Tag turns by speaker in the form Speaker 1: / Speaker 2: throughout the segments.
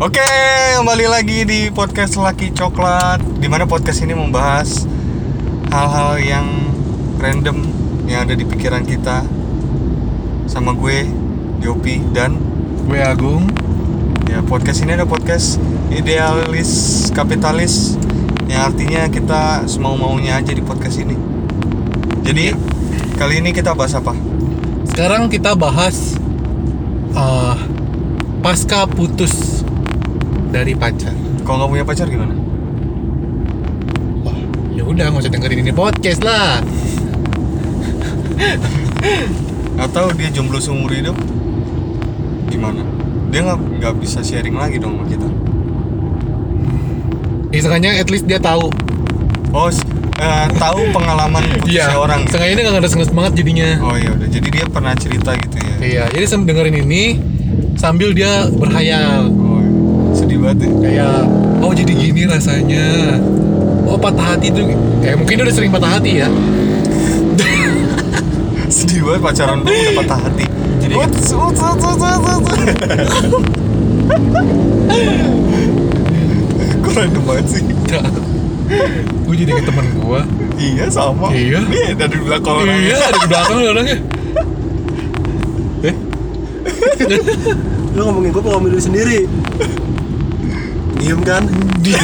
Speaker 1: Oke, kembali lagi di podcast Laki Coklat. Dimana podcast ini membahas hal-hal yang random yang ada di pikiran kita sama gue, Yopi dan
Speaker 2: Gue Agung
Speaker 1: ya podcast ini ada podcast idealis kapitalis yang artinya kita semau maunya aja di podcast ini. Jadi kali ini kita bahas apa?
Speaker 2: Sekarang kita bahas eh, Pasca putus Dari pacar
Speaker 1: Kalau nggak punya pacar gimana?
Speaker 2: Wah ya udah nggak usah dengerin ini podcast lah
Speaker 1: Atau dia jomblo seumur hidup? Gimana? Dia nggak nggak bisa sharing lagi dong sama kita.
Speaker 2: Misalnya Ya, at least dia tahu
Speaker 1: Oh, s- eh, tahu pengalaman
Speaker 2: Iya.
Speaker 1: putusnya orang.
Speaker 2: Sengaja ini nggak ngeres-ngeres banget jadinya
Speaker 1: Oh iya udah. Jadi dia pernah cerita gitu ya.
Speaker 2: Iya jadi sambil dengerin ini Sambil dia berhayal
Speaker 1: Oh, iya. sedih banget ya.
Speaker 2: Kayak Oh jadi gini rasanya Oh patah hati tuh Kayak mungkin dia udah sering patah hati ya
Speaker 1: Sedih banget pacaran dulu udah patah hati.
Speaker 2: Jadi- gitu.
Speaker 1: Uts, uts, uts, uts, uts, uts. Kok random banget sih?
Speaker 2: Gue jadi ke temen gue
Speaker 1: Iya sama.
Speaker 2: Iya.
Speaker 1: Nih dari belakang orang.
Speaker 2: Iya, ada di belakang lu orangnya. Eh?
Speaker 3: lu ngomongin gue apa ngomongin lu sendiri diem kan
Speaker 2: Dia.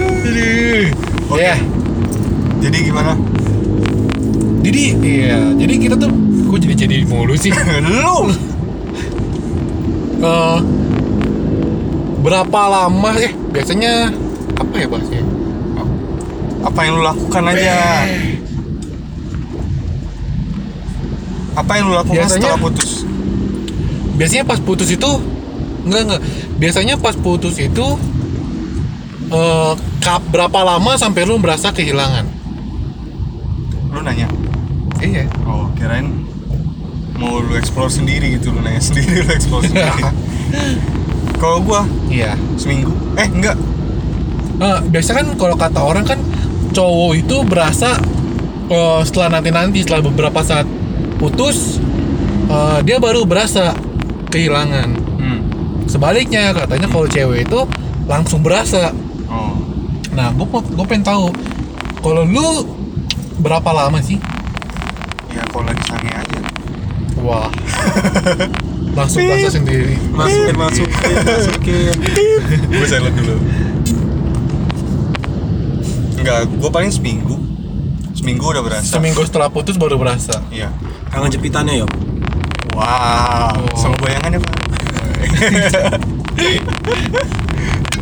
Speaker 2: Aduh.
Speaker 1: Oke.
Speaker 2: Ya,
Speaker 1: Jadi gimana?
Speaker 2: jadi iya, jadi kita tuh kok jadi jadi mulu sih.
Speaker 1: Lu
Speaker 2: Eh, berapa lama eh biasanya apa ya bahasnya?
Speaker 1: apa yang lu lakukan aja? Apa yang lu lakukan
Speaker 2: Biasanya-
Speaker 1: setelah putus?
Speaker 2: Biasanya pas putus itu enggak enggak. Biasanya pas putus itu eh kap, berapa lama sampai lu merasa kehilangan?
Speaker 1: Lu nanya.
Speaker 2: Iya.
Speaker 1: Oh, kirain mau lu explore sendiri gitu, lu nanya sendiri, lu explore sendiri. Kalau gua
Speaker 2: Iya.
Speaker 1: seminggu, eh enggak,
Speaker 2: Nah, biasanya kan kalau kata orang kan cowok itu berasa eh, setelah nanti-nanti setelah beberapa saat putus eh, dia baru berasa kehilangan.
Speaker 1: hmm.
Speaker 2: Sebaliknya katanya kalau cewek itu langsung berasa.
Speaker 1: oh,
Speaker 2: Nah, gue gue pengen tahu kalau lu berapa lama sih?
Speaker 1: ya kalau lagi sange aja,
Speaker 2: Wah. langsung berasa sendiri. Eh.
Speaker 3: masukin masukin masukin
Speaker 1: gue silent dulu. Enggak, gua paling seminggu, seminggu udah berasa.
Speaker 2: Seminggu setelah putus baru berasa.
Speaker 1: Iya.
Speaker 3: kangen jepitannya yo
Speaker 1: Wow,
Speaker 2: Oh.
Speaker 1: sama bayangannya pak.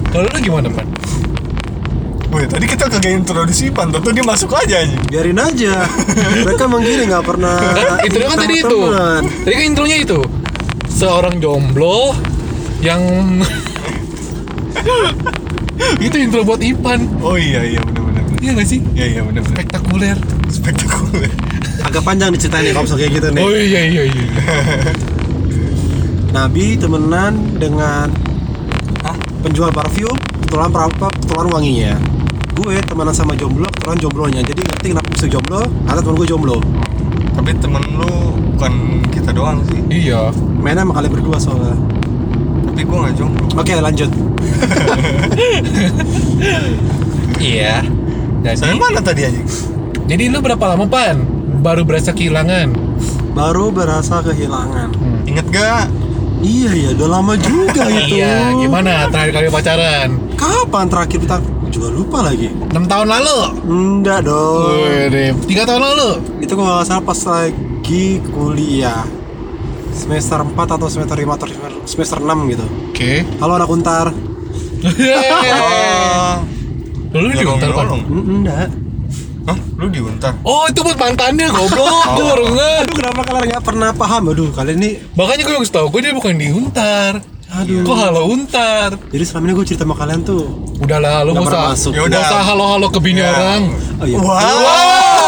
Speaker 2: Kalau lu gimana, Pan?
Speaker 1: Wih, tadi kita kagak introduksi Pan, tentu dia masuk aja aja.
Speaker 3: biarin aja mereka emang gini nggak pernah
Speaker 2: Kan, itu kan tadi itu.
Speaker 3: teman.
Speaker 2: Tadi kan intronya itu. Seorang jomblo yang itu intro buat Ipan.
Speaker 1: Oh iya iya benar-benar.
Speaker 2: Iya gak sih?
Speaker 1: Iya iya
Speaker 2: Eh.
Speaker 1: benar-benar.
Speaker 2: Spektakuler.
Speaker 1: Spektakuler.
Speaker 3: agak panjang diceritain kalau misal kayak gitu nih
Speaker 2: Oh iya iya iya. iya.
Speaker 3: Nabi temenan dengan ah,
Speaker 1: Hah?
Speaker 3: penjual parfum kebetulan perampok kebetulan wanginya gue temenan sama jomblo kebetulan jomblonya jadi ngerti kenapa bisa jomblo karena temen gue jomblo
Speaker 1: Tapi temen lu bukan kita doang sih.
Speaker 2: Iya.
Speaker 3: mainnya sama kalian berdua soalnya
Speaker 1: Tapi gua nggak jomblo.
Speaker 3: oke lanjut
Speaker 2: Iya. Jadi, Hmm.
Speaker 1: Saya mana tadi aja?
Speaker 2: jadi lu berapa lama Pan? Baru berasa kehilangan.
Speaker 3: baru berasa kehilangan
Speaker 2: Hmm.
Speaker 1: Ingat gak?
Speaker 3: Iya ya, udah lama juga itu.
Speaker 2: Iya, gimana terakhir kali pacaran?
Speaker 3: Kapan terakhir kita juga lupa lagi?
Speaker 2: 6 tahun lalu.
Speaker 3: Enggak dong.
Speaker 2: Wih, 3 tahun lalu.
Speaker 3: Itu kalau nggak salah pas lagi kuliah semester 4 atau semester 5 atau semester 6 gitu.
Speaker 2: Oke.
Speaker 3: Halo anak untar.
Speaker 2: Hehehe.
Speaker 1: Ah,
Speaker 2: Lu
Speaker 1: ya
Speaker 2: Eh, diuntar Pan?
Speaker 1: nyolong.
Speaker 3: Mm, Enggak.
Speaker 1: Hah? Lu diuntar?
Speaker 2: Oh itu buat mantannya
Speaker 1: Oh.
Speaker 2: goblok Gue baru nge
Speaker 3: Aduh kenapa kalian nggak pernah paham? Aduh kalian ini.
Speaker 2: Makanya gue yang tau gue dia bukan diuntar
Speaker 3: Aduh.
Speaker 2: Kok halo untar
Speaker 3: Jadi selama ini gue cerita sama kalian tuh.
Speaker 2: Udahlah lu gak
Speaker 3: Nggak
Speaker 2: usah
Speaker 3: pernah masuk.
Speaker 2: nggak
Speaker 1: Yaudah.
Speaker 2: usah halo-halo ke bini
Speaker 1: Ya.
Speaker 2: orang
Speaker 3: Oh iya.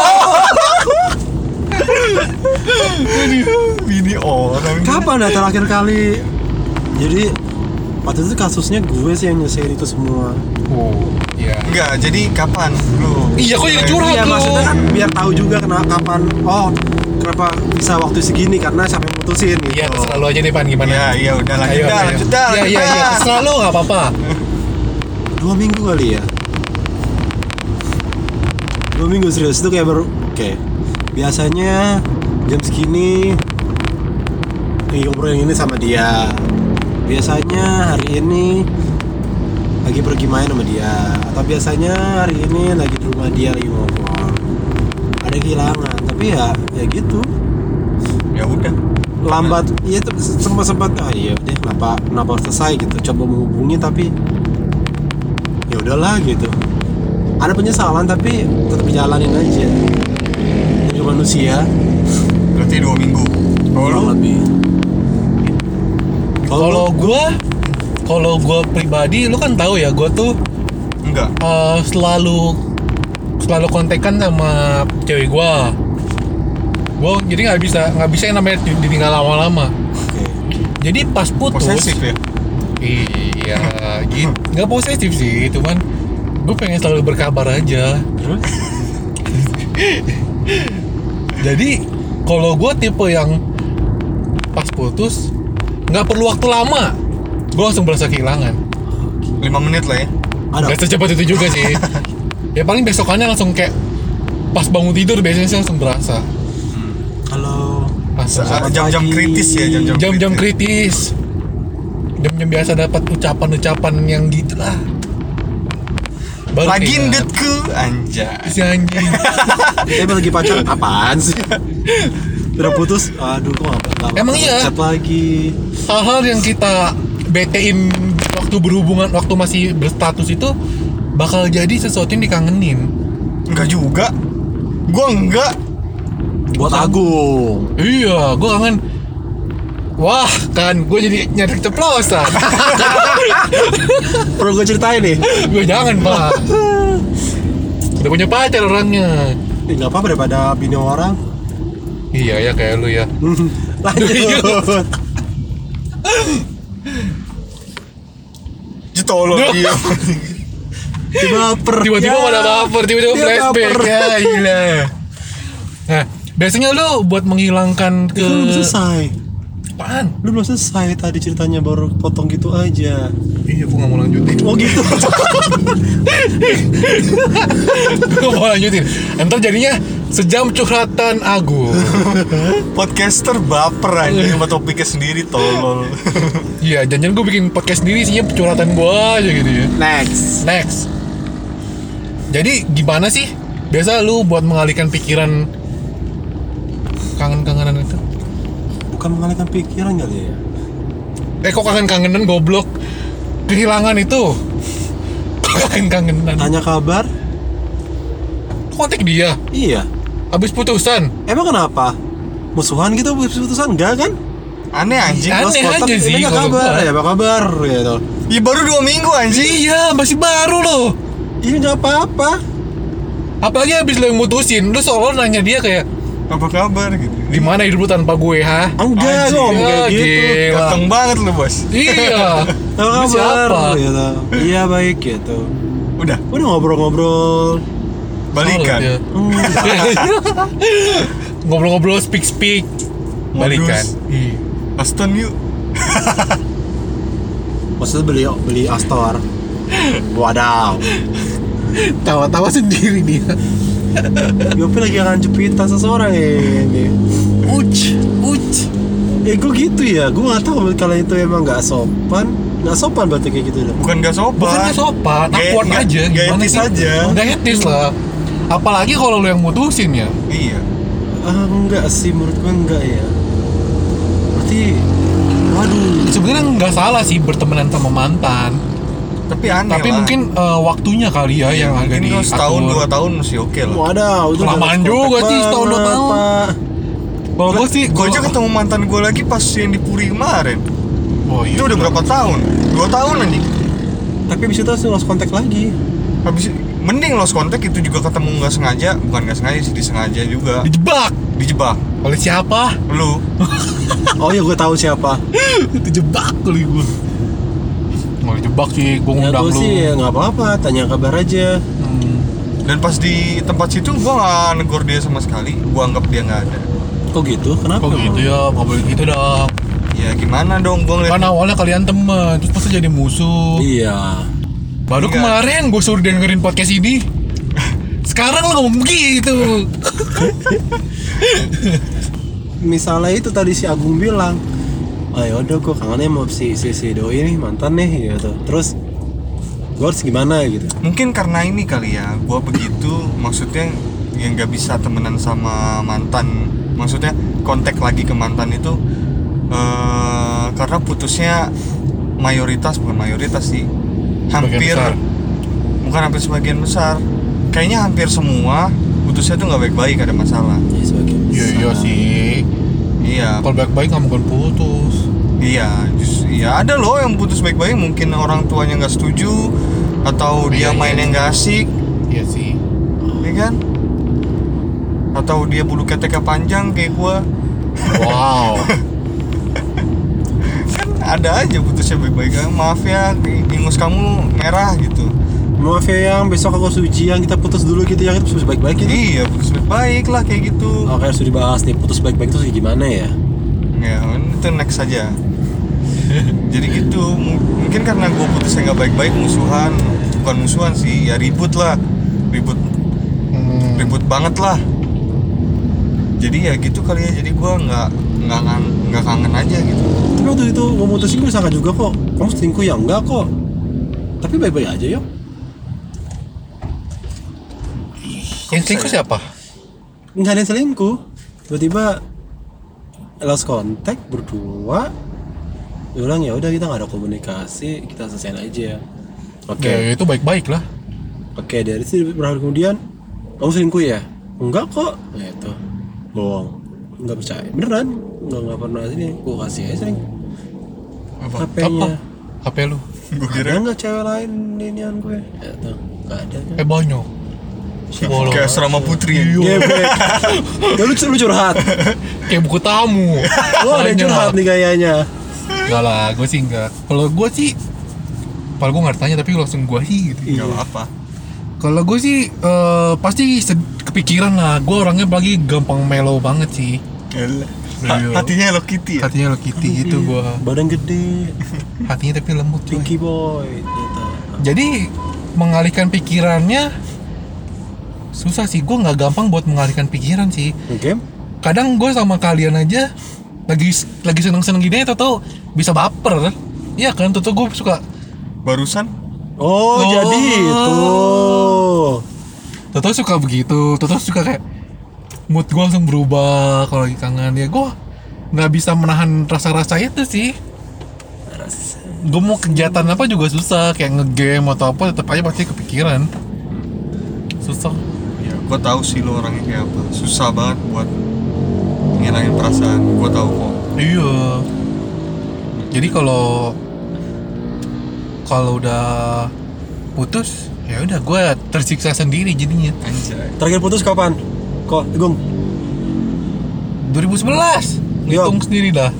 Speaker 1: Ini orang.
Speaker 3: Kapan ya terakhir kali? Jadi Waktu itu kasusnya gue sih yang nyelesain itu semua.
Speaker 2: Oh, iya.
Speaker 1: Enggak, jadi kapan lu?
Speaker 2: Iya, kok jadi
Speaker 1: mulai-
Speaker 2: curhat?
Speaker 3: Iya
Speaker 2: Aduh.
Speaker 3: maksudnya kan biar tahu juga kenapa kapan oh kenapa bisa waktu segini karena siapa yang mutusin gitu.
Speaker 2: Iya, selalu aja deh Pan gimana?
Speaker 1: Iya, iya udah lanjut dah, lanjut dah.
Speaker 2: Iya, iya, iya.
Speaker 1: lanjut dah.
Speaker 2: Terserah lo nggak apa-apa.
Speaker 3: Dua minggu kali ya. Dua minggu serius itu kayak baru oke. Biasanya jam segini eh, ngobrol yang ini sama dia. Biasanya hari ini lagi pergi main sama dia atau biasanya hari ini lagi di rumah dia lagi ngobrol ada kehilangan tapi ya ya gitu
Speaker 1: Ya udah.
Speaker 3: lambat iya itu sempat sempat ah iya deh kenapa kenapa harus selesai gitu coba menghubungi tapi ya udahlah gitu ada penyesalan tapi tetap jalanin aja jadi manusia
Speaker 1: Berarti dua minggu. Oh, lu?
Speaker 3: kurang lebih gitu.
Speaker 2: Kalau gua, kalau gua pribadi, lu kan tahu ya, gua tuh
Speaker 1: Enggak.
Speaker 2: eh, selalu selalu kontekan sama cewek gua. Gua jadi nggak bisa nggak bisa yang namanya di- ditinggal lama-lama.
Speaker 3: oke
Speaker 2: Jadi pas putus,
Speaker 1: Posesif ya.
Speaker 2: iya, gitu. Nggak posesif sih, cuman gue pengen selalu berkabar aja.
Speaker 3: terus
Speaker 2: Jadi kalau gue tipe yang pas putus nggak perlu waktu lama, gue langsung berasa kehilangan.
Speaker 1: Nah. Lima menit lah ya.
Speaker 3: ada
Speaker 2: Gak secepat itu juga sih. ya paling besokannya langsung kayak pas bangun tidur biasanya sih langsung berasa.
Speaker 3: kalau
Speaker 2: Langsung.
Speaker 1: Saat jam-jam
Speaker 3: pagi.
Speaker 1: kritis ya, jam-jam.
Speaker 2: Jam-jam kritis, jam-jam biasa dapat ucapan-ucapan yang gitu gitulah. Baru
Speaker 1: Lagi
Speaker 2: kehilangan.
Speaker 1: ndetku anjay.
Speaker 2: ya. si anjing.
Speaker 3: tapi lagi pacaran apaan sih udah putus aduh kok nggak- nggak
Speaker 2: Emang
Speaker 3: nggak
Speaker 2: iya?
Speaker 3: chat lagi
Speaker 2: hal-hal yang kita betein waktu berhubungan waktu masih berstatus itu bakal jadi sesuatu yang dikangenin
Speaker 1: Enggak juga. Gua enggak.
Speaker 3: buat Agung
Speaker 2: iya gue kangen wah kan gue jadi nyari keceplosan Kan,
Speaker 3: perlu gue ceritain nih
Speaker 2: gue jangan pak udah punya pacar orangnya
Speaker 3: Eh, nggak apa-apa daripada bini orang
Speaker 2: iya ya kayak lu ya
Speaker 3: lanjut
Speaker 1: Jetolo
Speaker 2: Duh.
Speaker 1: dia.
Speaker 3: tiba baper
Speaker 2: tiba-tiba
Speaker 3: Ya.
Speaker 2: pada baper tiba-tiba
Speaker 3: Dia
Speaker 2: flashback
Speaker 3: baper.
Speaker 2: ya gila nah biasanya lu buat menghilangkan ke
Speaker 3: Lu belum selesai
Speaker 2: apaan
Speaker 3: lu belum selesai tadi ceritanya baru potong gitu aja
Speaker 2: iya gue gak mau lanjutin
Speaker 3: oh gitu
Speaker 2: gue mau lanjutin entar jadinya sejam curhatan Agung
Speaker 1: Podcaster baper anjing sama topiknya sendiri tolol.
Speaker 2: iya janjian gue bikin podcast sendiri isinya curhatan gue aja gitu ya
Speaker 3: next
Speaker 2: next jadi gimana sih biasa lu buat mengalihkan pikiran kangen-kangenan itu
Speaker 3: bukan mengalihkan pikiran kali ya
Speaker 2: eh kok kangen-kangenan goblok kehilangan itu Kok kangen-kangenan
Speaker 3: tanya kabar
Speaker 2: kontak dia
Speaker 3: iya
Speaker 2: abis putusan
Speaker 3: emang kenapa musuhan gitu habis putusan enggak kan
Speaker 1: Aneh anjing.
Speaker 2: Aneh
Speaker 3: Lost contact,
Speaker 2: aja sih
Speaker 3: ini nggak
Speaker 2: kalau
Speaker 3: kabar
Speaker 2: gua.
Speaker 3: ya apa kabar gitu
Speaker 1: Ya baru dua minggu anjing.
Speaker 2: iya masih baru loh
Speaker 3: ini nggak apa-apa
Speaker 2: apalagi abis lu yang mutusin lu seolah nanya dia kayak
Speaker 1: Apa kabar gitu.
Speaker 2: gimana hidup lu tanpa gue ha
Speaker 3: enggak
Speaker 1: Anjing,
Speaker 3: gue ngomong kayak
Speaker 2: ya,
Speaker 3: gitu
Speaker 2: Gila.
Speaker 1: Ganteng banget lu, Bos.
Speaker 2: Iya.
Speaker 3: apa
Speaker 2: Lu
Speaker 3: kabar
Speaker 2: siapa?
Speaker 3: gitu iya baik gitu
Speaker 1: Udah,
Speaker 3: udah ngobrol-ngobrol
Speaker 2: Oh, iya.
Speaker 1: balikan.
Speaker 3: Hmm,
Speaker 2: Ngobrol-ngobrol speak speak. Balikan.
Speaker 1: Modus. Aston yuk.
Speaker 3: maksudnya beli beli Astor wadaw
Speaker 2: Tawa-tawa sendiri dia.
Speaker 3: Yopi lagi akan jepitan seseorang eh, ini
Speaker 2: Uch, uch.
Speaker 3: eh gue gitu ya gue gak tahu kalau itu emang gak sopan gak sopan berarti kayak gitu dong
Speaker 1: Bukan gak sopan.
Speaker 2: Bukannya sopan,
Speaker 1: Gaya-
Speaker 2: awkward
Speaker 1: gaya-
Speaker 2: aja.
Speaker 1: gaya
Speaker 2: Gimana
Speaker 1: etis
Speaker 2: sih?
Speaker 1: aja.
Speaker 2: Gaya etis lah. Apalagi kalau lu yang mutusin ya.
Speaker 1: Iya.
Speaker 3: ah enggak sih menurut gue enggak ya berarti waduh
Speaker 2: Sebenarnya nggak salah sih bertemanan sama mantan.
Speaker 1: Tapi aneh
Speaker 2: Tapi
Speaker 1: lah.
Speaker 2: mungkin eh, waktunya kali ya yang
Speaker 1: Iya, mungkin
Speaker 2: agak diatur.
Speaker 1: kalau setahun dua tahun masih oke lah.
Speaker 3: wadaw itu
Speaker 2: Kelamaan juga sih, setahun dua tahun. Kalau gua sih,
Speaker 1: Gue
Speaker 2: gua-
Speaker 1: aja ketemu mantan gue lagi pas yang di Puri kemarin.
Speaker 2: Oh, iya.
Speaker 1: Itu udah berapa tahun? Dua tahun anjing.
Speaker 3: tapi abis itu langsung lost kontak lagi
Speaker 1: Habis mending lost contact itu juga ketemu nggak sengaja, bukan nggak sengaja sih disengaja juga
Speaker 2: Dijebak
Speaker 1: dijebak.
Speaker 2: oleh siapa?
Speaker 1: Lu
Speaker 3: oh ya gue iya, tahu siapa
Speaker 2: Dijebak kali gue. mau jebak sih gue
Speaker 3: Ya
Speaker 2: ngundang lu
Speaker 3: gue sih ya nggak apa-apa, tanya kabar aja.
Speaker 2: Hmm.
Speaker 1: Dan pas di tempat situ gua nggak negor dia sama sekali. Gua anggap dia nggak ada.
Speaker 3: Kok gitu? Kenapa?
Speaker 2: kok gitu
Speaker 3: emang?
Speaker 2: ya nggak boleh gitu dong
Speaker 1: Ya gimana dong gua ngeliat
Speaker 2: kan awalnya kalian temen terus masa jadi musuh
Speaker 3: Iya.
Speaker 2: baru
Speaker 1: Enggak.
Speaker 2: kemarin gue suruh dia dengerin podcast ini sekarang lo ngomong begitu
Speaker 3: Misalnya itu tadi si Agung bilang, ah yaudah gue kangennya mau si si, si doi nih mantan nih gitu. Terus gue harus gimana gitu?
Speaker 1: mungkin karena ini kali ya gua begitu maksudnya yang nggak bisa temenan sama mantan maksudnya kontak lagi ke mantan itu eh karena putusnya mayoritas bukan mayoritas sih hampir
Speaker 2: Sebagian besar.
Speaker 1: bukan hampir sebagian besar kayaknya hampir semua putusnya tuh nggak baik-baik ada masalah
Speaker 3: Ya sebagai
Speaker 2: iya iya
Speaker 3: besar.
Speaker 2: sih
Speaker 1: iya
Speaker 2: kalau baik-baik nggak mungkin putus
Speaker 1: iya jus- iya ada loh yang putus baik-baik mungkin orang tuanya nggak setuju atau dia
Speaker 2: Iya, iya.
Speaker 1: mainnya nggak asik
Speaker 2: iya sih
Speaker 1: ya kan atau dia bulu keteknya panjang kayak gua
Speaker 2: wow
Speaker 1: kan ada aja putusnya baik-baik aja. maaf ya ingus kamu merah gitu
Speaker 3: Maaf ya yang besok aku suji yang kita putus dulu gitu yang itu putus baik-baik gitu.
Speaker 1: iya putus baik-baik lah kayak gitu
Speaker 3: Oke harus dibahas nih putus baik-baik itu kayak gimana ya?
Speaker 1: ya itu next saja jadi gitu M- mungkin karena gua putusnya nggak baik-baik musuhan bukan musuhan sih ya ribut lah ribut
Speaker 2: Hmm.
Speaker 1: ribut banget lah jadi ya gitu kali ya jadi gua nggak nggak ngan- nggak kangen aja gitu
Speaker 3: Tapi waktu itu gue mutusin gue sangka juga kok Kamu selingkuh ya? Enggak kok Tapi baik-baik aja yuk
Speaker 2: yang selingkuh
Speaker 1: saya-
Speaker 2: siapa
Speaker 3: Enggak ada yang selingkuh Tiba-tiba Lost contact berdua Dia bilang ya udah kita nggak ada komunikasi Kita selesaiin aja Oke
Speaker 2: ya itu baik-baik lah
Speaker 3: Oke dari situ berhari kemudian Kamu selingkuh ya? Enggak kok Nah itu Bohong Enggak percaya Beneran Enggak, enggak pernah ini Gue kasih aja sering
Speaker 2: apa
Speaker 3: HP-nya
Speaker 2: HP lu
Speaker 1: gua
Speaker 3: Ada nggak cewek lain inian gue? Ya tuh Enggak ada kan
Speaker 2: eh banyak Bolong.
Speaker 1: kayak asrama putri ya.
Speaker 2: Iya.
Speaker 3: Gebek. Ya lu, lu curhat.
Speaker 2: kayak buku tamu
Speaker 3: Lu Oh, ada
Speaker 2: Banyak.
Speaker 3: yang curhat nih kayaknya.
Speaker 2: Enggak lah, gue sih enggak. Kalau gue sih, kalau gue nggak tanya tapi langsung gue sih gitu.
Speaker 1: Gak apa-apa
Speaker 2: Kalau gue sih eh, pasti sed- kepikiran lah. Gue orangnya lagi gampang mellow banget sih.
Speaker 1: Gila.
Speaker 2: Iya.
Speaker 1: Ha- Hatinya Hello Kitty ya?
Speaker 2: Hatinya lo
Speaker 3: Iya.
Speaker 2: kitty gitu gue.
Speaker 3: Badan gede,
Speaker 2: Hatinya tapi lembut cuy.
Speaker 3: Pinky Boy. Gitu.
Speaker 2: Jadi mengalihkan pikirannya susah sih. Gue nggak gampang buat mengalihkan pikiran sih.
Speaker 3: Game?
Speaker 2: Kadang gue sama kalian aja lagi lagi seneng seneng gini atau tau bisa baper. Iya kan, tuh gue suka
Speaker 1: Barusan?
Speaker 3: Oh,
Speaker 2: Oh.
Speaker 3: jadi itu.
Speaker 2: Toto suka begitu, Toto suka kayak mood gue langsung berubah kalau lagi kangen ya gue nggak bisa menahan rasa-rasa itu sih. Gue mau kegiatan apa juga susah, kayak ngegame atau apa tetap aja pasti kepikiran. Susah.
Speaker 1: Ya, gue tahu sih lo orangnya kayak apa Susah banget buat ngilangin perasaan Gue tahu kok
Speaker 2: Iya. Jadi kalau kalau udah putus ya udah gue tersiksa sendiri jadinya.
Speaker 1: Anjay
Speaker 3: Terakhir putus kapan? Kok, Gung?
Speaker 2: 2011
Speaker 3: Iya.
Speaker 2: hitung sendiri dah.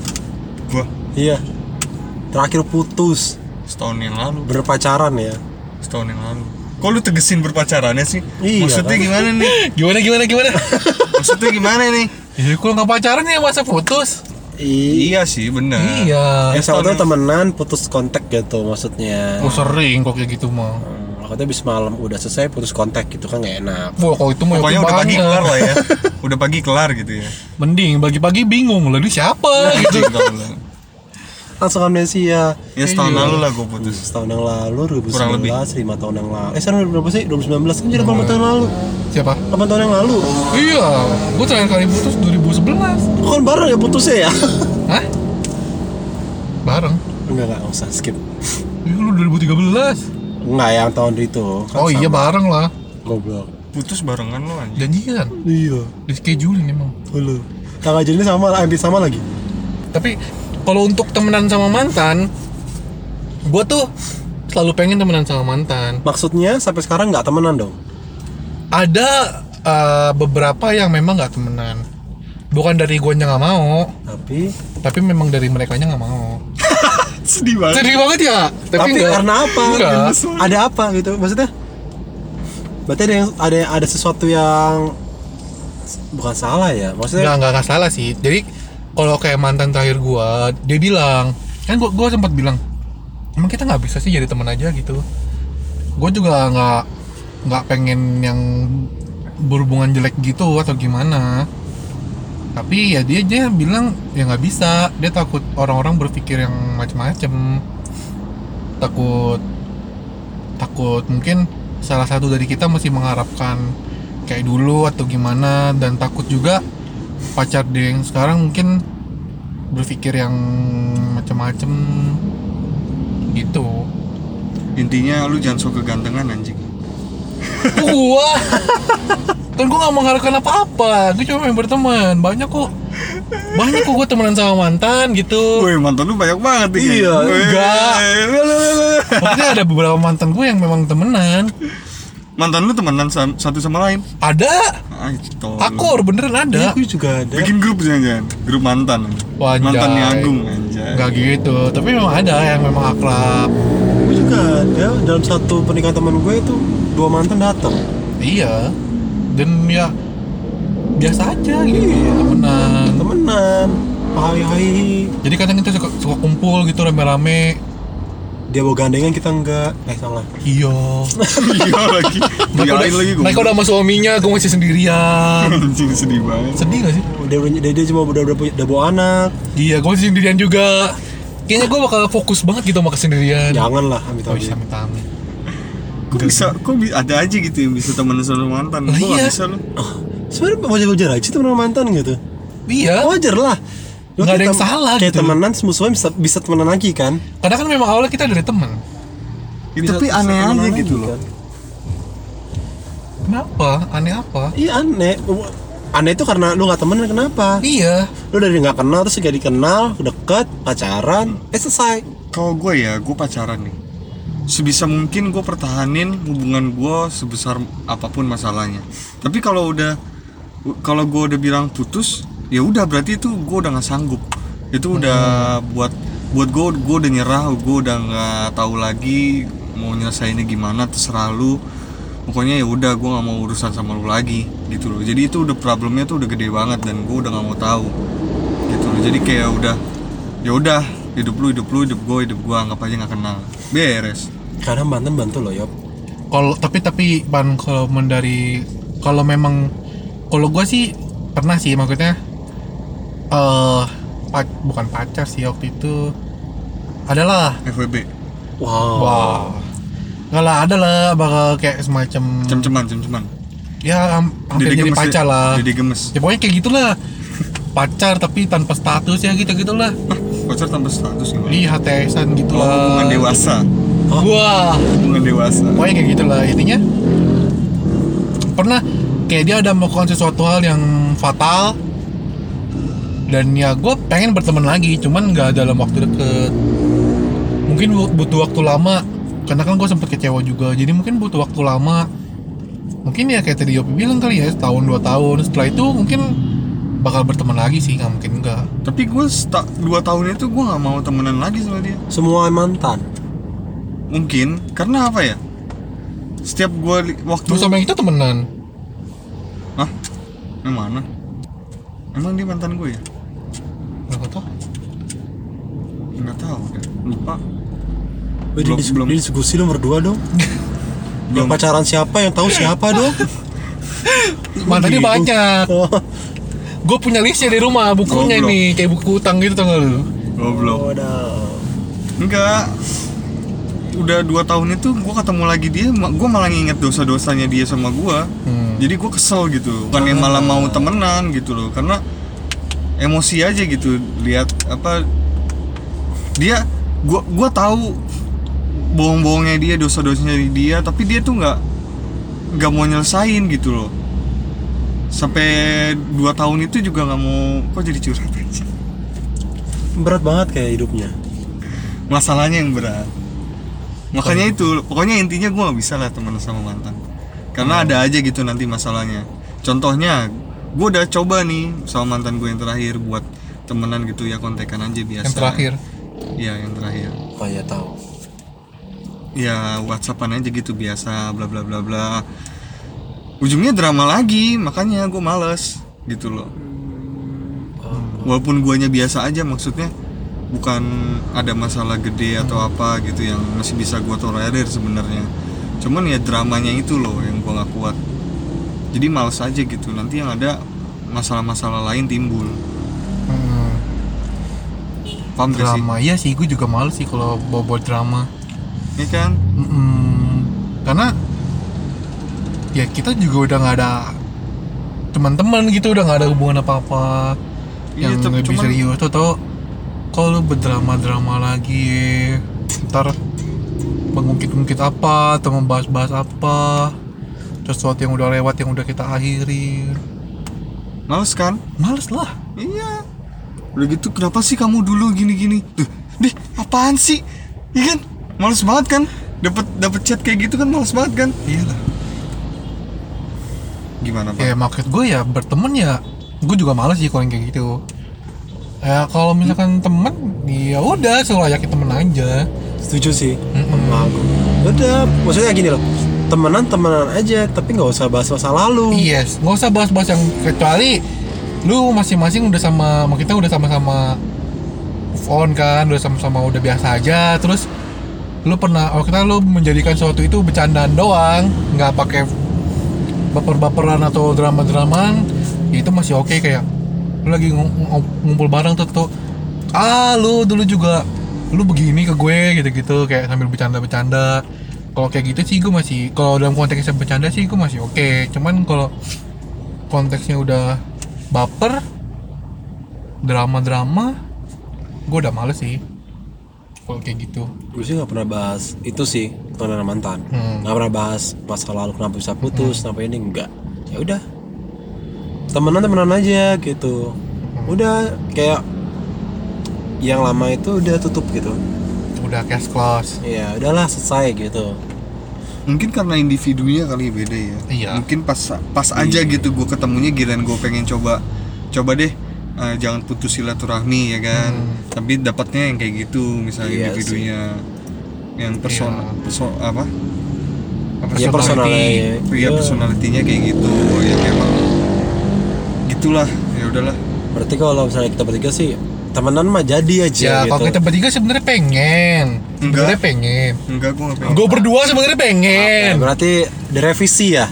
Speaker 1: Gue
Speaker 3: Iya. Terakhir putus
Speaker 1: setahun yang lalu
Speaker 3: berpacaran ya.
Speaker 1: Setahun yang lalu Kok lu tegesin berpacarannya sih?
Speaker 3: Iya,
Speaker 1: Maksudnya
Speaker 3: kan?
Speaker 1: gimana nih?
Speaker 2: Gimana gimana gimana?
Speaker 1: Maksudnya gimana nih?
Speaker 2: Ya kalau nggak pacaran ya masa putus?
Speaker 1: iya
Speaker 3: Iya.
Speaker 1: sih bener
Speaker 2: Iya.
Speaker 3: Ya,
Speaker 1: Eh,
Speaker 3: sama
Speaker 1: setahun
Speaker 3: tuh
Speaker 1: yang-
Speaker 3: temenan putus kontak gitu maksudnya.
Speaker 2: Oh sering kok kayak gitu mah.
Speaker 3: Hmm, Aku tuh habis malam udah selesai putus kontak gitu kan gak enak.
Speaker 2: Wah kalau itu mah
Speaker 1: Pokoknya
Speaker 2: yakin
Speaker 1: udah pagi
Speaker 2: banget.
Speaker 1: kelar lah ya Udah pagi kelar gitu ya
Speaker 2: Mending pagi-pagi bingung lalu siapa gitu.
Speaker 1: Anjing, tau lu.
Speaker 3: Langsung amnesia.
Speaker 1: Ya setahun
Speaker 2: Iya.
Speaker 1: lalu lah gue putus
Speaker 3: setahun yang lalu
Speaker 1: Kurang lebih.
Speaker 3: 2019 lima tahun yang lalu eh sekarang berapa sih 2019 kan
Speaker 2: Hmm.
Speaker 3: jadi 8 tahun yang lalu
Speaker 2: Siapa?
Speaker 3: 8 tahun yang lalu
Speaker 2: Iya, gua terakhir kali putus 2011.
Speaker 3: kok kan baru ya putusnya ya
Speaker 2: Hah? Bareng.
Speaker 3: enggak enggak usah skip
Speaker 2: Iya lu 2013.
Speaker 3: enggak yang tahun itu kan
Speaker 2: oh iya
Speaker 3: sama.
Speaker 2: bareng lah.
Speaker 3: goblok
Speaker 1: Putus barengan lo anjing
Speaker 2: Janjian.
Speaker 3: iya
Speaker 2: Di scheduling emang.
Speaker 3: dulu tanggal jadi sama hampir sama lagi
Speaker 2: Tapi kalau untuk temenan sama mantan, gua tuh selalu pengen temenan sama mantan.
Speaker 3: maksudnya sampai sekarang nggak temenan dong
Speaker 2: ada eh, beberapa yang memang nggak temenan bukan dari guanya nggak mau
Speaker 3: tapi
Speaker 2: tapi memang dari mereka nggak mau
Speaker 1: sedih banget
Speaker 2: Sedih banget ya. Tapi,
Speaker 3: Tapi,
Speaker 2: enggak.
Speaker 3: karena apa?
Speaker 2: Enggak.
Speaker 3: Ada apa gitu? Maksudnya? Berarti ada yang ada ada sesuatu yang bukan salah ya?
Speaker 2: Enggak,
Speaker 3: Maksudnya?
Speaker 2: enggak, enggak salah sih. Jadi kalau kayak mantan terakhir gua, dia bilang, kan gua gua sempat bilang, emang kita nggak bisa sih jadi teman aja gitu. Gua juga nggak nggak pengen yang berhubungan jelek gitu atau gimana. Tapi ya dia dia bilang ya nggak bisa. Dia takut orang-orang berpikir yang macem-macem. Takut takut mungkin salah satu dari kita masih mengharapkan kayak dulu atau gimana dan takut juga pacar dia yang sekarang mungkin berpikir yang macam-macam gitu.
Speaker 1: intinya lu jangan sok kegantengan anjing
Speaker 2: gua kan gua nggak mengharapkan apa-apa gua cuma pengen berteman banyak kok banyak kok gua temenan sama mantan gitu
Speaker 1: Woi mantan lu banyak banget nih
Speaker 2: Iya,
Speaker 1: Woi.
Speaker 2: enggak. maksudnya ada beberapa mantan gua yang memang temenan
Speaker 1: mantan lu temenan sam- satu sama lain
Speaker 2: ada
Speaker 1: Ay, tolong.
Speaker 2: akur beneran ada
Speaker 3: Iya, aku juga ada.
Speaker 1: bikin grup jangan grup mantan
Speaker 2: Wanjay.
Speaker 1: mantannya Agung anjay
Speaker 2: nggak gitu tapi memang ada yang memang akrab
Speaker 3: Gue juga ada dalam satu pernikahan teman gue itu dua mantan datang.
Speaker 2: iya dan ya biasa aja gitu temenan
Speaker 3: Temenan, hai hai.
Speaker 2: jadi kadang kita suka, suka kumpul gitu rame-rame
Speaker 3: Dia bawa gandengan kita enggak. Eh salah.
Speaker 2: iya
Speaker 1: iya lagi
Speaker 2: mereka udah,
Speaker 1: dialahin lagi gue
Speaker 2: mereka udah sama suaminya gue masih sendirian
Speaker 1: anjing sedih banget
Speaker 2: sedih gak sih
Speaker 3: Dia, dia, dia cuma udah udah punya- udah bawa anak.
Speaker 2: iya gue masih sendirian juga kayaknya gue bakal fokus banget gitu sama kesendirian
Speaker 3: Janganlah amit
Speaker 2: oh iya
Speaker 3: amit.
Speaker 2: amit
Speaker 1: kok bisa kok bi- ada aja gitu yang bisa temenan sama mantan
Speaker 2: Lah,
Speaker 1: gue gak
Speaker 2: iya.
Speaker 1: bisa lu
Speaker 3: Oh, Sebenarnya wajar-wajar aja temen sama mantan gitu.
Speaker 2: iya
Speaker 3: Wajar lah. Lu
Speaker 2: Nggak ada
Speaker 3: kayak
Speaker 2: yang
Speaker 3: tem-
Speaker 2: salah
Speaker 3: Kayak
Speaker 2: gitu.
Speaker 3: temenan semusuhnya bisa, bisa temenan lagi kan?
Speaker 2: karena kan memang awalnya kita dari temen
Speaker 1: Ya,
Speaker 3: Bisa-
Speaker 1: tapi
Speaker 3: bisa
Speaker 1: aneh
Speaker 3: temenan
Speaker 1: aja
Speaker 3: lagi
Speaker 1: gitu loh
Speaker 3: kan.
Speaker 2: kenapa aneh apa
Speaker 3: Iya aneh. Aneh itu karena lu gak temenan kenapa?
Speaker 2: iya
Speaker 3: Lu dari nggak kenal terus jadi kenal, deket, pacaran, eh selesai.
Speaker 1: kalau gue ya gue pacaran nih sebisa mungkin gue pertahanin hubungan gue sebesar apapun masalahnya tapi kalau udah kalau gue udah bilang putus ya udah berarti itu gue udah nggak sanggup itu udah buat buat gue gue udah nyerah gue udah nggak tahu lagi mau nyelesainnya gimana terserah lu pokoknya ya udah gue nggak mau urusan sama lu lagi gitu loh jadi itu udah problemnya tuh udah gede banget dan gue udah nggak mau tahu gitu loh jadi kayak udah ya udah hidup lu hidup lu hidup gue hidup gue anggap aja nggak kenal beres
Speaker 3: Karena mantan bantu loh, Yop.
Speaker 2: kalau tapi tapi ban kalau mendari kalau memang kalau gue sih pernah sih maksudnya eh pac- bukan pacar sih waktu itu adalah
Speaker 1: FWB
Speaker 2: Hmm.
Speaker 3: Wow.
Speaker 2: wah nggak lah ada lah bakal kayak semacam
Speaker 1: cem-ceman cem-ceman
Speaker 2: ya am- hampir jadi
Speaker 1: ya.
Speaker 2: pacar lah
Speaker 1: Dede gemes
Speaker 2: ya pokoknya kayak gitulah pacar tapi tanpa status ya gitu gitulah
Speaker 1: Hah, pacar tanpa status gimana?
Speaker 2: di HTSan
Speaker 1: Oh,
Speaker 2: gitulah
Speaker 1: hubungan dewasa
Speaker 2: wah
Speaker 1: hubungan dewasa
Speaker 2: pokoknya kayak gitulah intinya pernah kayak dia ada melakukan sesuatu hal yang fatal dan ya gue pengen berteman lagi cuman nggak dalam waktu deket mungkin bu- butuh waktu lama karena kan gue sempet kecewa juga jadi mungkin butuh waktu lama mungkin ya kayak tadi Yopi bilang kali ya setahun dua tahun setelah itu mungkin bakal berteman lagi sih nggak mungkin nggak
Speaker 1: tapi gue sta- dua tahun itu gue nggak mau temenan lagi sama dia
Speaker 3: Semua mantan.
Speaker 1: mungkin karena apa ya setiap gue waktu
Speaker 2: terus sama yang itu temenan
Speaker 1: Hah? yang mana emang dia mantan gue ya
Speaker 2: nggak tahu
Speaker 1: nggak tahu deh. lupa
Speaker 3: Wih,
Speaker 1: Belum-
Speaker 3: belum,
Speaker 1: belum.
Speaker 3: diskusi nomor dua dong.
Speaker 1: Belum.
Speaker 3: Yang pacaran siapa yang tahu siapa dong?
Speaker 2: mantannya
Speaker 1: gitu.
Speaker 2: banyak
Speaker 3: Oh,
Speaker 2: gue punya listnya di rumah bukunya
Speaker 1: Goblok.
Speaker 2: nih kayak buku utang gitu tau gak lu
Speaker 1: goblok
Speaker 3: udah.
Speaker 1: Enggak Udah dua tahun itu gue ketemu lagi dia ma- Gue malah nginget dosa-dosanya dia sama gue
Speaker 2: Hmm.
Speaker 1: Jadi gue kesel gitu Bukan yang malah mau temenan gitu loh Karena emosi aja gitu Lihat apa Dia Gue gua tahu Bohong-bohongnya dia, dosa-dosanya dia Tapi dia tuh nggak nggak mau nyelesain gitu loh Sampai dua tahun itu juga nggak mau Kok jadi curhat aja
Speaker 3: Berat banget kayak hidupnya.
Speaker 1: masalahnya yang berat makanya itu pokoknya intinya gue gak bisa lah teman sama mantan karena ada aja gitu nanti masalahnya contohnya gue udah coba nih sama mantan gue yang terakhir buat temenan gitu ya kontekan aja biasa
Speaker 2: yang terakhir
Speaker 1: Iya yang terakhir.
Speaker 2: Oh ya
Speaker 3: iya,
Speaker 2: tahu.
Speaker 1: Ya WhatsAppan aja gitu biasa bla bla bla bla. Ujungnya drama lagi, makanya gue males gitu loh.
Speaker 2: Oh.
Speaker 1: Walaupun guanya biasa aja maksudnya bukan ada masalah gede atau apa gitu yang masih bisa gua tolerir sebenarnya. Cuman ya dramanya itu loh yang gua nggak kuat. Jadi males aja gitu. Nanti yang ada masalah-masalah lain timbul.
Speaker 2: Hmm,
Speaker 1: Paham gak sih?
Speaker 2: drama iya sih gue juga males sih kalau bobo drama.
Speaker 1: Iya kan?
Speaker 2: Mm-mm. Karena ya kita juga udah nggak ada teman-teman gitu, udah nggak ada hubungan apa-apa
Speaker 1: Iya,
Speaker 2: yang
Speaker 1: tapi
Speaker 2: lebih
Speaker 1: cuman-
Speaker 2: serius. Tuh tau, kalau lu berdrama-drama lagi, ntar mengungkit-ungkit apa atau membahas-bahas apa sesuatu yang udah lewat yang udah kita akhiri
Speaker 1: Males kan?
Speaker 2: males lah
Speaker 1: Iya. Udah gitu kenapa sih kamu dulu gini-gini? Duh, deh, apaan sih? Iya kan? Males banget kan? Dapat dapat chat kayak gitu kan males banget kan?
Speaker 2: iyalah
Speaker 1: Gimana, Pak?
Speaker 2: ya maksud gue ya berteman ya gue juga males sih kalau yang kayak gitu ya kalau misalkan temen ya udah selayaknya temen aja
Speaker 3: setuju sih
Speaker 2: Mm-mm.
Speaker 3: sama aku Ya udah maksudnya gini loh temenan temenan aja tapi nggak usah bahas masa lalu
Speaker 2: yes Iya, nggak usah bahas-bahas yang kecuali lu masing-masing udah sama sama kita udah sama-sama move on kan udah sama-sama udah biasa aja terus lu pernah oh kita lu menjadikan sesuatu itu bercandaan doang nggak pakai baper-baperan atau drama-dramaan ya itu masih oke kayak lu lagi ngu- ngu- ngumpul bareng tuh tuh ah lu dulu juga lu begini ke gue gitu-gitu kayak sambil bercanda-bercanda kalau kayak gitu sih gue masih kalau dalam konteksnya bercanda sih gue masih oke cuman kalau konteksnya udah baper drama-drama gue udah males sih kalau kayak gitu
Speaker 3: gue sih nggak pernah bahas itu sih temenan mantan
Speaker 2: Hmm.
Speaker 3: nggak pernah bahas masa lalu kenapa bisa putus kenapa ini enggak ya udah temenan temenan aja gitu
Speaker 2: Hmm.
Speaker 3: udah kayak yang lama itu udah tutup gitu
Speaker 2: udah cash close
Speaker 3: ya udahlah selesai gitu
Speaker 1: Mungkin karena individunya kali ya beda ya.
Speaker 2: Iya.
Speaker 1: Mungkin pas pas aja gitu gue ketemunya giliran gue pengen coba coba deh eh, jangan putus silaturahmi ya kan. Tapi dapatnya yang kayak gitu misalnya
Speaker 3: Iya
Speaker 1: individunya yang persona
Speaker 2: Iya.
Speaker 1: perso- apa? Apa
Speaker 2: Personality.
Speaker 3: ya personalnya
Speaker 1: Iya personalitinya kayak gitu ya memang gitulah ya udahlah
Speaker 3: berarti kalau misalnya kita bertiga sih temenan mah jadi aja
Speaker 2: Ya,
Speaker 3: gitu
Speaker 2: kalau kita bertiga sebenarnya pengen. Sebenarnya pengen.
Speaker 1: enggak gue nggak pengen
Speaker 2: Gue berdua sebenarnya pengen.
Speaker 3: Ya, berarti direvisi ya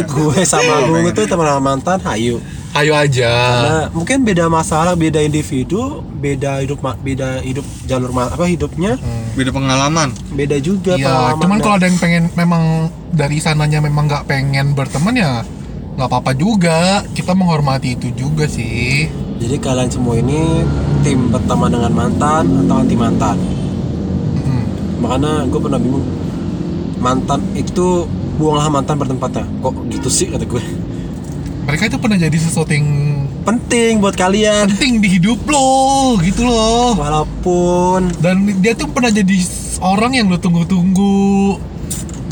Speaker 3: gue
Speaker 2: Iya.
Speaker 3: sama Agung itu teman mantan hayu
Speaker 2: Ayo aja.
Speaker 3: Nah, mungkin beda masalah beda individu beda hidup ma- beda hidup jalur ma- apa hidupnya
Speaker 1: beda pengalaman
Speaker 3: beda juga
Speaker 2: Iya,
Speaker 3: pengalamannya.
Speaker 2: cuman kalau ada yang pengen memang dari sananya memang nggak pengen berteman ya nggak apa-apa juga. Kita menghormati itu juga sih.
Speaker 3: jadi kalian semua ini tim berteman dengan mantan atau anti mantan
Speaker 2: Mm-mm.
Speaker 3: makanya gue pernah bingung mantan itu buanglah mantan bertempatnya kok gitu sih kata gue
Speaker 2: Mereka itu pernah jadi sesuatu yang
Speaker 3: penting buat kalian
Speaker 2: penting di hidup lo, gitu loh.
Speaker 3: walaupun
Speaker 2: Dan dia tuh pernah jadi orang yang lo tunggu-tunggu,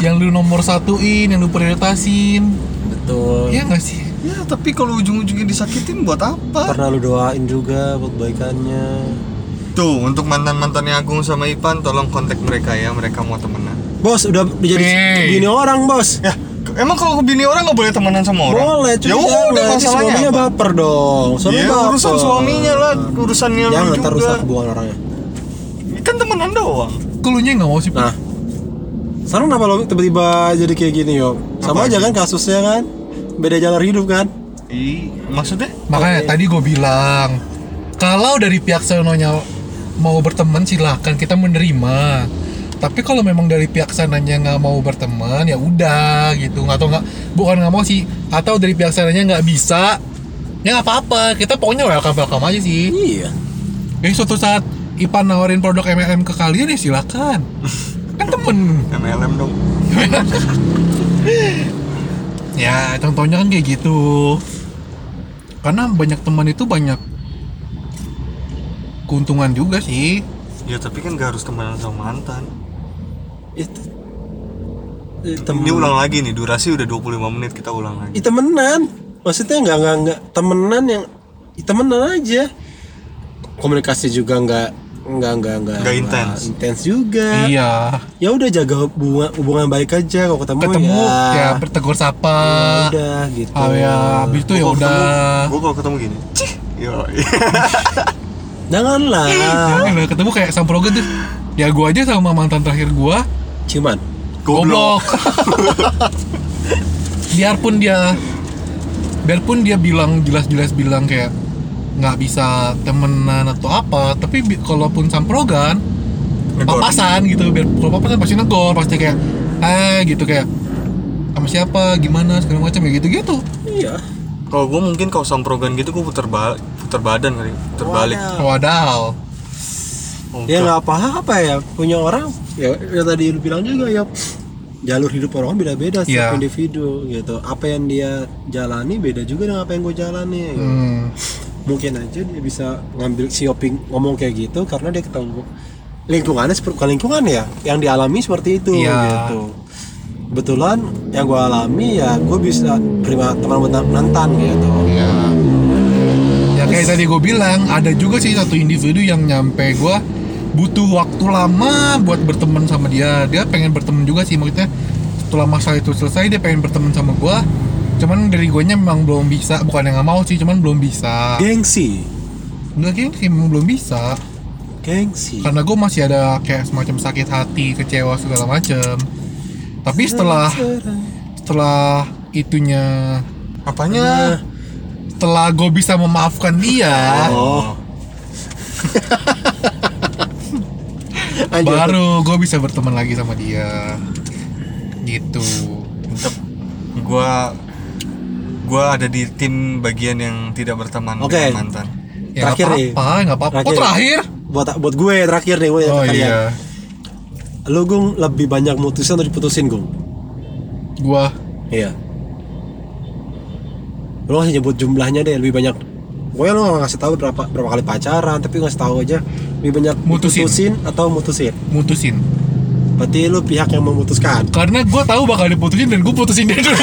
Speaker 2: yang lu nomor satuin, yang lu prioritasin.
Speaker 3: betul
Speaker 2: Iya nggak sih?
Speaker 1: ya tapi kalau ujung-ujungnya disakitin buat apa
Speaker 3: pernah lu doain juga buat kebaikannya
Speaker 1: tuh untuk mantan mantannya Agung sama Ipan tolong kontak mereka ya mereka mau temenan
Speaker 3: bos udah jadi
Speaker 2: Hey.
Speaker 3: gini orang bos
Speaker 1: ya ke- emang kalau ke bini orang nggak boleh temenan sama orang
Speaker 3: boleh
Speaker 1: ya
Speaker 3: cuma
Speaker 1: udah
Speaker 3: jangan nanti
Speaker 1: masalahnya
Speaker 3: suaminya
Speaker 1: apa?
Speaker 3: baper dong suami
Speaker 1: ya
Speaker 3: baper.
Speaker 1: urusan suaminya lah urusannya lu
Speaker 3: jangan ntar
Speaker 1: juga
Speaker 3: rusak hubungan orangnya
Speaker 1: kan temenan doang
Speaker 2: Kulunya nggak mau sih.
Speaker 3: nah sekarang kenapa lo tiba-tiba jadi kayak gini yo
Speaker 1: Apa
Speaker 3: sama aja
Speaker 1: lagi?
Speaker 3: kan kasusnya kan beda jalan hidup kan
Speaker 1: Ih, maksudnya
Speaker 2: Makanya
Speaker 3: Oke.
Speaker 2: tadi gue bilang kalau dari pihak sononya mau berteman silahkan kita menerima. Tapi kalau memang dari pihak sananya nggak mau berteman ya udah gitu atau nggak bukan nggak mau sih atau dari pihak sananya nggak bisa ya nggak apa-apa kita pokoknya welcome welcome aja sih.
Speaker 3: iya
Speaker 2: Jadi suatu saat Ipan nawarin produk MLM ke kalian ya silahkan kan temen
Speaker 1: MLM dong
Speaker 2: Ya, contohnya kan kayak gitu. Karena banyak teman itu banyak keuntungan juga sih.
Speaker 1: ya tapi kan gak harus temenan sama mantan
Speaker 3: itu
Speaker 1: ini
Speaker 3: temen
Speaker 1: ulang lagi nih durasi udah 25 menit kita ulang lagi
Speaker 3: Ih, temenan maksudnya nggak nggak nggak temenan yang ih, temenan aja komunikasi juga nggak Enggak, enggak, enggak.
Speaker 1: Nggak intens.
Speaker 3: Intens juga.
Speaker 2: Iya.
Speaker 3: Ya udah jaga hubungan, hubungan baik aja kalau ketemu,
Speaker 2: Ketemu
Speaker 3: ya.
Speaker 2: ya bertegur sapa.
Speaker 3: ya udah gitu.
Speaker 2: Ah ya, habis itu ya udah.
Speaker 1: gue kalau ketemu gini cih yo
Speaker 3: Janganlah. Iya.
Speaker 2: Jangan lah, Eh, ketemu kayak samprogen tuh. Ya gua aja sama mantan terakhir gua
Speaker 3: Cuman
Speaker 2: goblok. biarpun dia biarpun dia bilang jelas-jelas bilang kayak nggak bisa temenan atau apa, tapi bi- kalaupun samprogan
Speaker 1: Negor.
Speaker 2: papasan gitu biar kalau papasan pasti negor pasti kayak eh gitu kayak sama siapa gimana segala macam ya gitu gitu
Speaker 3: iya.
Speaker 1: kalau gue mungkin kalau samprogan gitu gue puter balik puter badan kali puter balik
Speaker 3: Wadah.
Speaker 2: wadaw
Speaker 1: Untuk-
Speaker 3: Ya Iya nggak apa-apa ya punya orang ya, ya tadi lu bilang juga ya jalur hidup orang beda-beda
Speaker 2: Iya.
Speaker 3: setiap individu gitu apa yang dia jalani beda juga dengan apa yang gue jalani gitu.
Speaker 2: hmm.
Speaker 3: mungkin aja dia bisa ngambil si Oping ngomong kayak gitu karena dia ketemu lingkungannya seperti bukan lingkungan ya yang dialami seperti itu
Speaker 2: Iya.
Speaker 3: gitu kebetulan yang gue alami ya gue bisa terima teman menantan gitu
Speaker 2: ya ya kayak tadi gue bilang ada juga sih satu individu yang nyampe gua butuh waktu lama buat berteman sama dia dia pengen berteman juga sih maksudnya setelah masalah itu selesai dia pengen berteman sama gua cuman dari guanya memang belum bisa bukan yang nggak mau sih cuman belum bisa
Speaker 3: gengsi
Speaker 2: nggak gengsi memang belum bisa
Speaker 3: gengsi
Speaker 2: karena gue masih ada kayak semacam sakit hati kecewa segala macem tapi setelah setelah itunya
Speaker 1: apanya
Speaker 2: setelah gue bisa memaafkan
Speaker 1: Iya.
Speaker 2: dia
Speaker 3: oh Lanjut.
Speaker 2: baru gue bisa berteman lagi sama dia gitu
Speaker 1: gue gue ada di tim bagian yang tidak berteman
Speaker 3: Oke.
Speaker 1: dengan mantan
Speaker 2: ya nggak
Speaker 3: Terakhir nih.
Speaker 2: apa-apa nggak apa-apa oh terakhir
Speaker 3: Terakhir. buat buat gue terakhir nih gue
Speaker 2: oh
Speaker 3: terakhir ya.
Speaker 2: iya
Speaker 3: lu gung lebih banyak mutusin atau diputusin gung
Speaker 2: gue
Speaker 3: Iya. Lu ngasih nyebut jumlahnya deh lebih banyak. Pokoknya lu nggak ngasih tahu berapa berapa kali pacaran, tapi ngasih tahu aja lebih banyak
Speaker 2: Mutusin.
Speaker 3: diputusin atau mutusin.
Speaker 2: mutusin
Speaker 3: Berarti lu pihak yang memutuskan.
Speaker 2: karena gue tahu bakal diputusin dan gue putusin dia dulu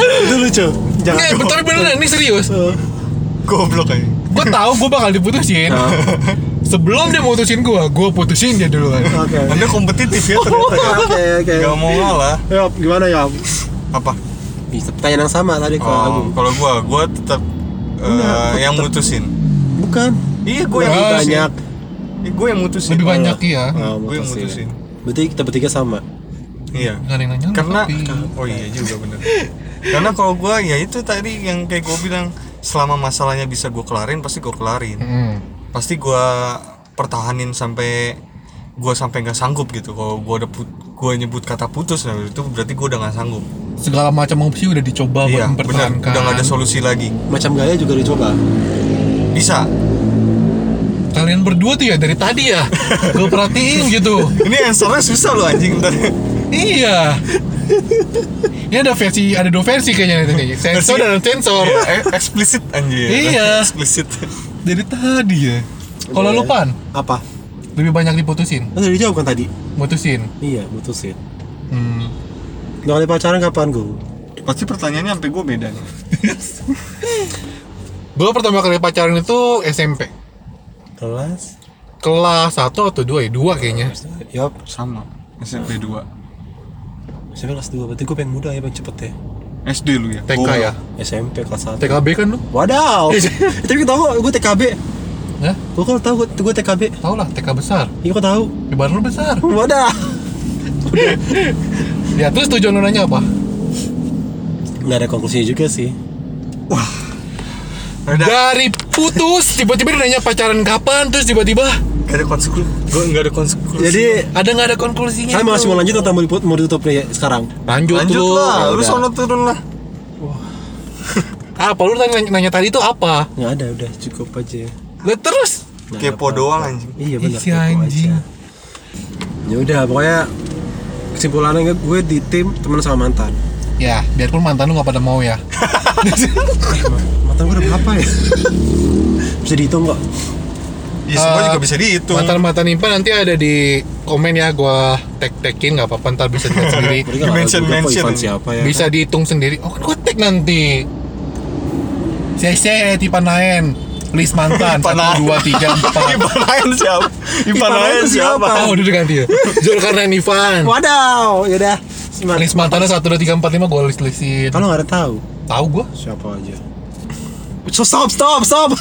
Speaker 3: Itu lucu.
Speaker 2: Nggak,
Speaker 3: Jangan.
Speaker 2: tapi beneran ini serius
Speaker 3: Eh,
Speaker 1: goblok aja
Speaker 2: gue tahu gue bakal diputusin
Speaker 3: Nah.
Speaker 2: sebelum dia mutusin gue gue putusin dia duluan
Speaker 3: Oke.
Speaker 1: anda kompetitif ya ternyata ya.
Speaker 3: Oke, oke.
Speaker 1: gak mau ngalah
Speaker 3: Yop, gimana ya?
Speaker 1: apa
Speaker 3: Bisa pertanyaan yang sama tadi kalau
Speaker 1: oh,
Speaker 3: Agung.
Speaker 1: kalau gue gue tetap eh,
Speaker 3: Enggak, gua
Speaker 1: yang
Speaker 3: tetap-
Speaker 1: mutusin
Speaker 3: Bukan.
Speaker 1: iya gue yang
Speaker 3: Lebih
Speaker 2: sih.
Speaker 1: mutusin
Speaker 3: banyak.
Speaker 1: gue yang mutusin
Speaker 2: lebih banyak ya
Speaker 3: Oh,
Speaker 1: gue yang mutusin
Speaker 3: Berarti kita bertiga sama.
Speaker 1: iya
Speaker 2: nggak ada yang nanya
Speaker 1: karena
Speaker 2: tapi.
Speaker 1: oh iya juga bener karena kalau gue ya itu tadi yang kayak gue bilang selama masalahnya bisa gue kelarin pasti gue kelarin
Speaker 2: Mm.
Speaker 1: pasti gue pertahanin sampai gue sampai nggak sanggup gitu kalau gue udah gue nyebut kata putus nah itu berarti gue udah nggak sanggup
Speaker 2: segala macam opsi udah dicoba
Speaker 1: iya
Speaker 2: buat
Speaker 1: benar
Speaker 2: mempertahankan
Speaker 1: udah nggak ada solusi lagi
Speaker 3: Macam gaya juga dicoba.
Speaker 1: bisa
Speaker 2: kalian berdua tuh ya dari tadi ya gue perhatiin gitu
Speaker 1: ini answernya susah loh anjing ntar
Speaker 2: iya ini ada versi ada dua versi kayaknya itu kayaknya sensor
Speaker 1: Versi-
Speaker 2: dan sensor
Speaker 1: Iya, eh, eksplisit anjing
Speaker 2: Iya.
Speaker 1: eksplisit
Speaker 2: dari tadi ya kalau
Speaker 3: Iya.
Speaker 2: lu pan
Speaker 3: Apa?
Speaker 2: lebih banyak diputusin
Speaker 3: Lu udah dijawab kan tadi?
Speaker 2: mutusin
Speaker 3: Iya, mutusin.
Speaker 2: hmm.
Speaker 3: Dua kali pacaran kapan, Gung?
Speaker 1: pasti pertanyaannya sampai gue beda nih
Speaker 2: gue pertama kali pacaran itu SMP
Speaker 3: Kelas.
Speaker 2: kelas 1 atau 2 ya 2 kayaknya
Speaker 3: Yop,
Speaker 1: sama SMP 2
Speaker 3: SMP kelas 2, berarti gue pengen muda ya, pengen cepet ya
Speaker 1: SD lu ya
Speaker 2: TK
Speaker 1: Gua-
Speaker 2: ya
Speaker 3: SMP kelas 1
Speaker 2: TKB kan lu
Speaker 3: Wadaw Eh, Tapi tau kok, gue TKB
Speaker 2: ya
Speaker 3: Gue kan tau, gue TKB
Speaker 2: tau lah TK besar
Speaker 3: Iya kok tau
Speaker 2: di lu besar
Speaker 3: Wadaw
Speaker 2: ya terus tujuan lu nanya apa
Speaker 1: Nah.
Speaker 3: Gak ada konklusinya juga sih
Speaker 1: Ada-
Speaker 2: dari putus tiba-tiba dia nanya pacaran kapan terus tiba-tiba
Speaker 1: Gak ada konsekuensi. Gue gak ada konsekuensi.
Speaker 3: Jadi,
Speaker 2: ada nggak ada
Speaker 1: Kan
Speaker 2: konklusinya
Speaker 3: saya
Speaker 2: bro?
Speaker 3: masih mau lanjut atau mau ditutup, mau ditutup nih sekarang?
Speaker 2: lanjut,
Speaker 1: lanjut
Speaker 2: lu.
Speaker 1: lah,
Speaker 3: ya
Speaker 1: lu
Speaker 3: udah.
Speaker 1: sono turun lah.
Speaker 2: apa lu tanya, nanya tadi itu apa
Speaker 3: Gak ada, udah cukup aja
Speaker 2: Lah terus
Speaker 3: Nggak
Speaker 1: Kepo
Speaker 3: ada Nah, apa-apa.
Speaker 1: doang anjing.
Speaker 3: Iya benar.
Speaker 2: Ih, si
Speaker 3: kepo
Speaker 2: anjing.
Speaker 3: aja. Ya udah, pokoknya kesimpulannya gue di tim teman sama mantan.
Speaker 2: ya biarpun mantan lu nggak pada mau ya
Speaker 3: Mantan gue udah berapa ya? Bisa dihitung kok.
Speaker 1: Ya semua
Speaker 2: Eh,
Speaker 1: juga bisa dihitung.
Speaker 2: mantan mantan impa nanti ada di komen ya gua tag tagin nggak apa-apa ntar bisa dilihat sendiri
Speaker 3: Mereka nggak tahu
Speaker 1: Dimension-
Speaker 3: juga kok
Speaker 1: mention.
Speaker 3: Ivan siapa ya?
Speaker 2: bisa dihitung sendiri oh kan gua tag nanti cc tipe naen list mantan
Speaker 1: Ipanaen.
Speaker 2: satu dua tiga empat
Speaker 1: Ipan Ayan siapa? Ipan
Speaker 3: Ipan Ayan
Speaker 1: Ayan siapa?
Speaker 3: siapa?
Speaker 2: oh udah ganti ya Zulkarnain Ivan
Speaker 3: Wadaw, yaudah. Smart.
Speaker 2: list mantannya satu dua tiga empat lima gue list listin
Speaker 3: Kalau nggak ada tahu
Speaker 2: tahu gue
Speaker 3: siapa aja. So, stop, stop, stop.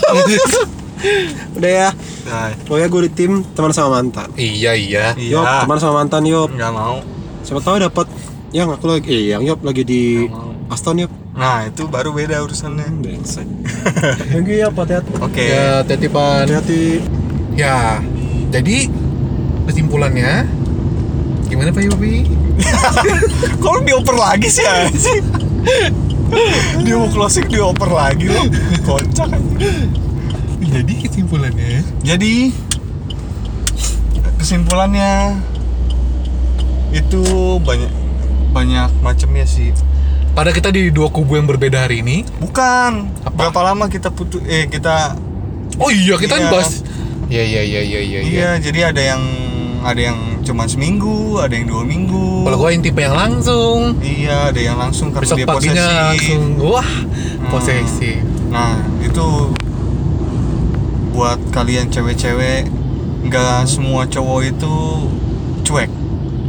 Speaker 3: udah ya.
Speaker 1: Nah,
Speaker 3: Pokoknya gue di tim teman sama mantan.
Speaker 2: iya iya
Speaker 3: Yop,
Speaker 1: iya.
Speaker 3: teman sama mantan yop.
Speaker 1: Nggak mau.
Speaker 3: Siapa tahu dapat yang aku lagi, eh, yang yop lagi di Aston yop.
Speaker 1: Nah, itu baru beda urusannya.
Speaker 3: Brengsek. Thank you yop, hati-hati.
Speaker 1: Oke.
Speaker 2: ya tetipan
Speaker 3: Hati-hati.
Speaker 2: Ya, jadi kesimpulannya gimana Pak Yopi?
Speaker 1: Kok dioper lagi sih anjing? dia mau closing dioper lagi loh. Kocak anjing.
Speaker 2: Jadi kesimpulannya
Speaker 1: Jadi kesimpulannya itu banyak banyak macamnya sih.
Speaker 2: pada kita di dua kubu yang berbeda hari ini.
Speaker 1: Bukan.
Speaker 2: Apa?
Speaker 1: Berapa lama kita putus eh kita
Speaker 2: Oh iya kita
Speaker 1: Iya.
Speaker 2: bahas. Iya iya iya iya iya. iya.
Speaker 1: Iya, jadi ada yang ada yang cuma seminggu, ada yang dua minggu.
Speaker 2: Kalau gua yang tipe yang langsung
Speaker 1: Iya, ada yang langsung karena
Speaker 2: besok
Speaker 1: dia
Speaker 2: paginya
Speaker 1: posesif. Hmm.
Speaker 2: langsung wah posesif.
Speaker 1: Nah, itu buat kalian cewek-cewek, nggak semua cowok itu cuek.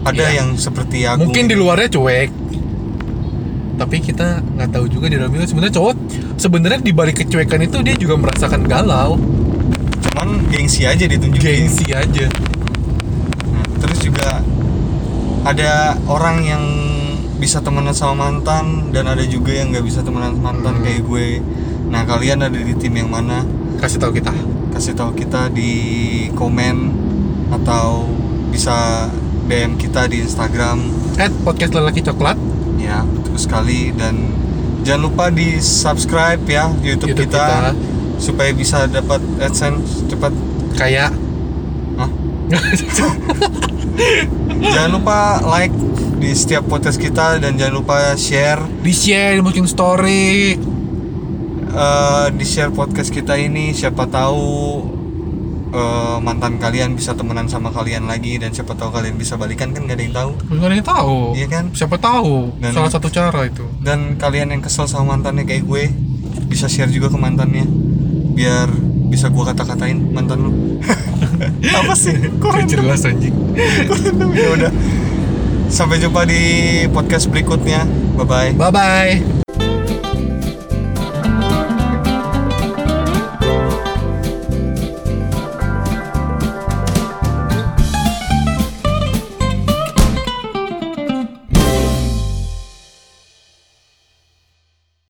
Speaker 1: Ada
Speaker 2: Iya.
Speaker 1: yang seperti aku.
Speaker 2: Mungkin di luarnya cuek. Tapi kita nggak tahu juga di dalamnya sebenarnya cowok sebenarnya di balik kecuekan itu dia juga merasakan galau,
Speaker 1: cuman gengsi aja ditunjukin.
Speaker 2: gengsi aja.
Speaker 1: Nah, terus juga ada orang yang bisa temenan sama mantan dan ada juga yang nggak bisa temenan sama mantan
Speaker 2: Hmm.
Speaker 1: kayak gue. Nah, kalian ada di tim yang mana?
Speaker 2: Kasih tahu kita.
Speaker 1: Kasih tahu kita di komen atau bisa DM kita di Instagram
Speaker 2: At podcast lelaki coklat
Speaker 1: ya betul sekali dan jangan lupa di subscribe ya YouTube,
Speaker 2: YouTube
Speaker 1: kita,
Speaker 2: kita.
Speaker 1: supaya bisa dapat adsense cepat
Speaker 2: kayak
Speaker 1: Hah? jangan lupa like di setiap podcast kita dan jangan lupa share
Speaker 2: di share mungkin story
Speaker 1: eh, di share podcast kita ini siapa tahu eh, mantan kalian bisa temenan sama kalian lagi dan siapa tahu kalian bisa balikan kan gak ada yang tahu
Speaker 2: nggak ada yang tahu
Speaker 1: Iya kan?
Speaker 2: siapa tahu
Speaker 1: Dan-
Speaker 2: salah satu cara itu
Speaker 1: dan kalian yang kesel sama mantannya kayak gue bisa share juga ke mantannya biar bisa gue kata-katain mantan lu apa sih kok
Speaker 2: Gak
Speaker 1: random
Speaker 2: jelas anjing
Speaker 1: ya udah sampai jumpa di podcast berikutnya bye bye
Speaker 2: bye bye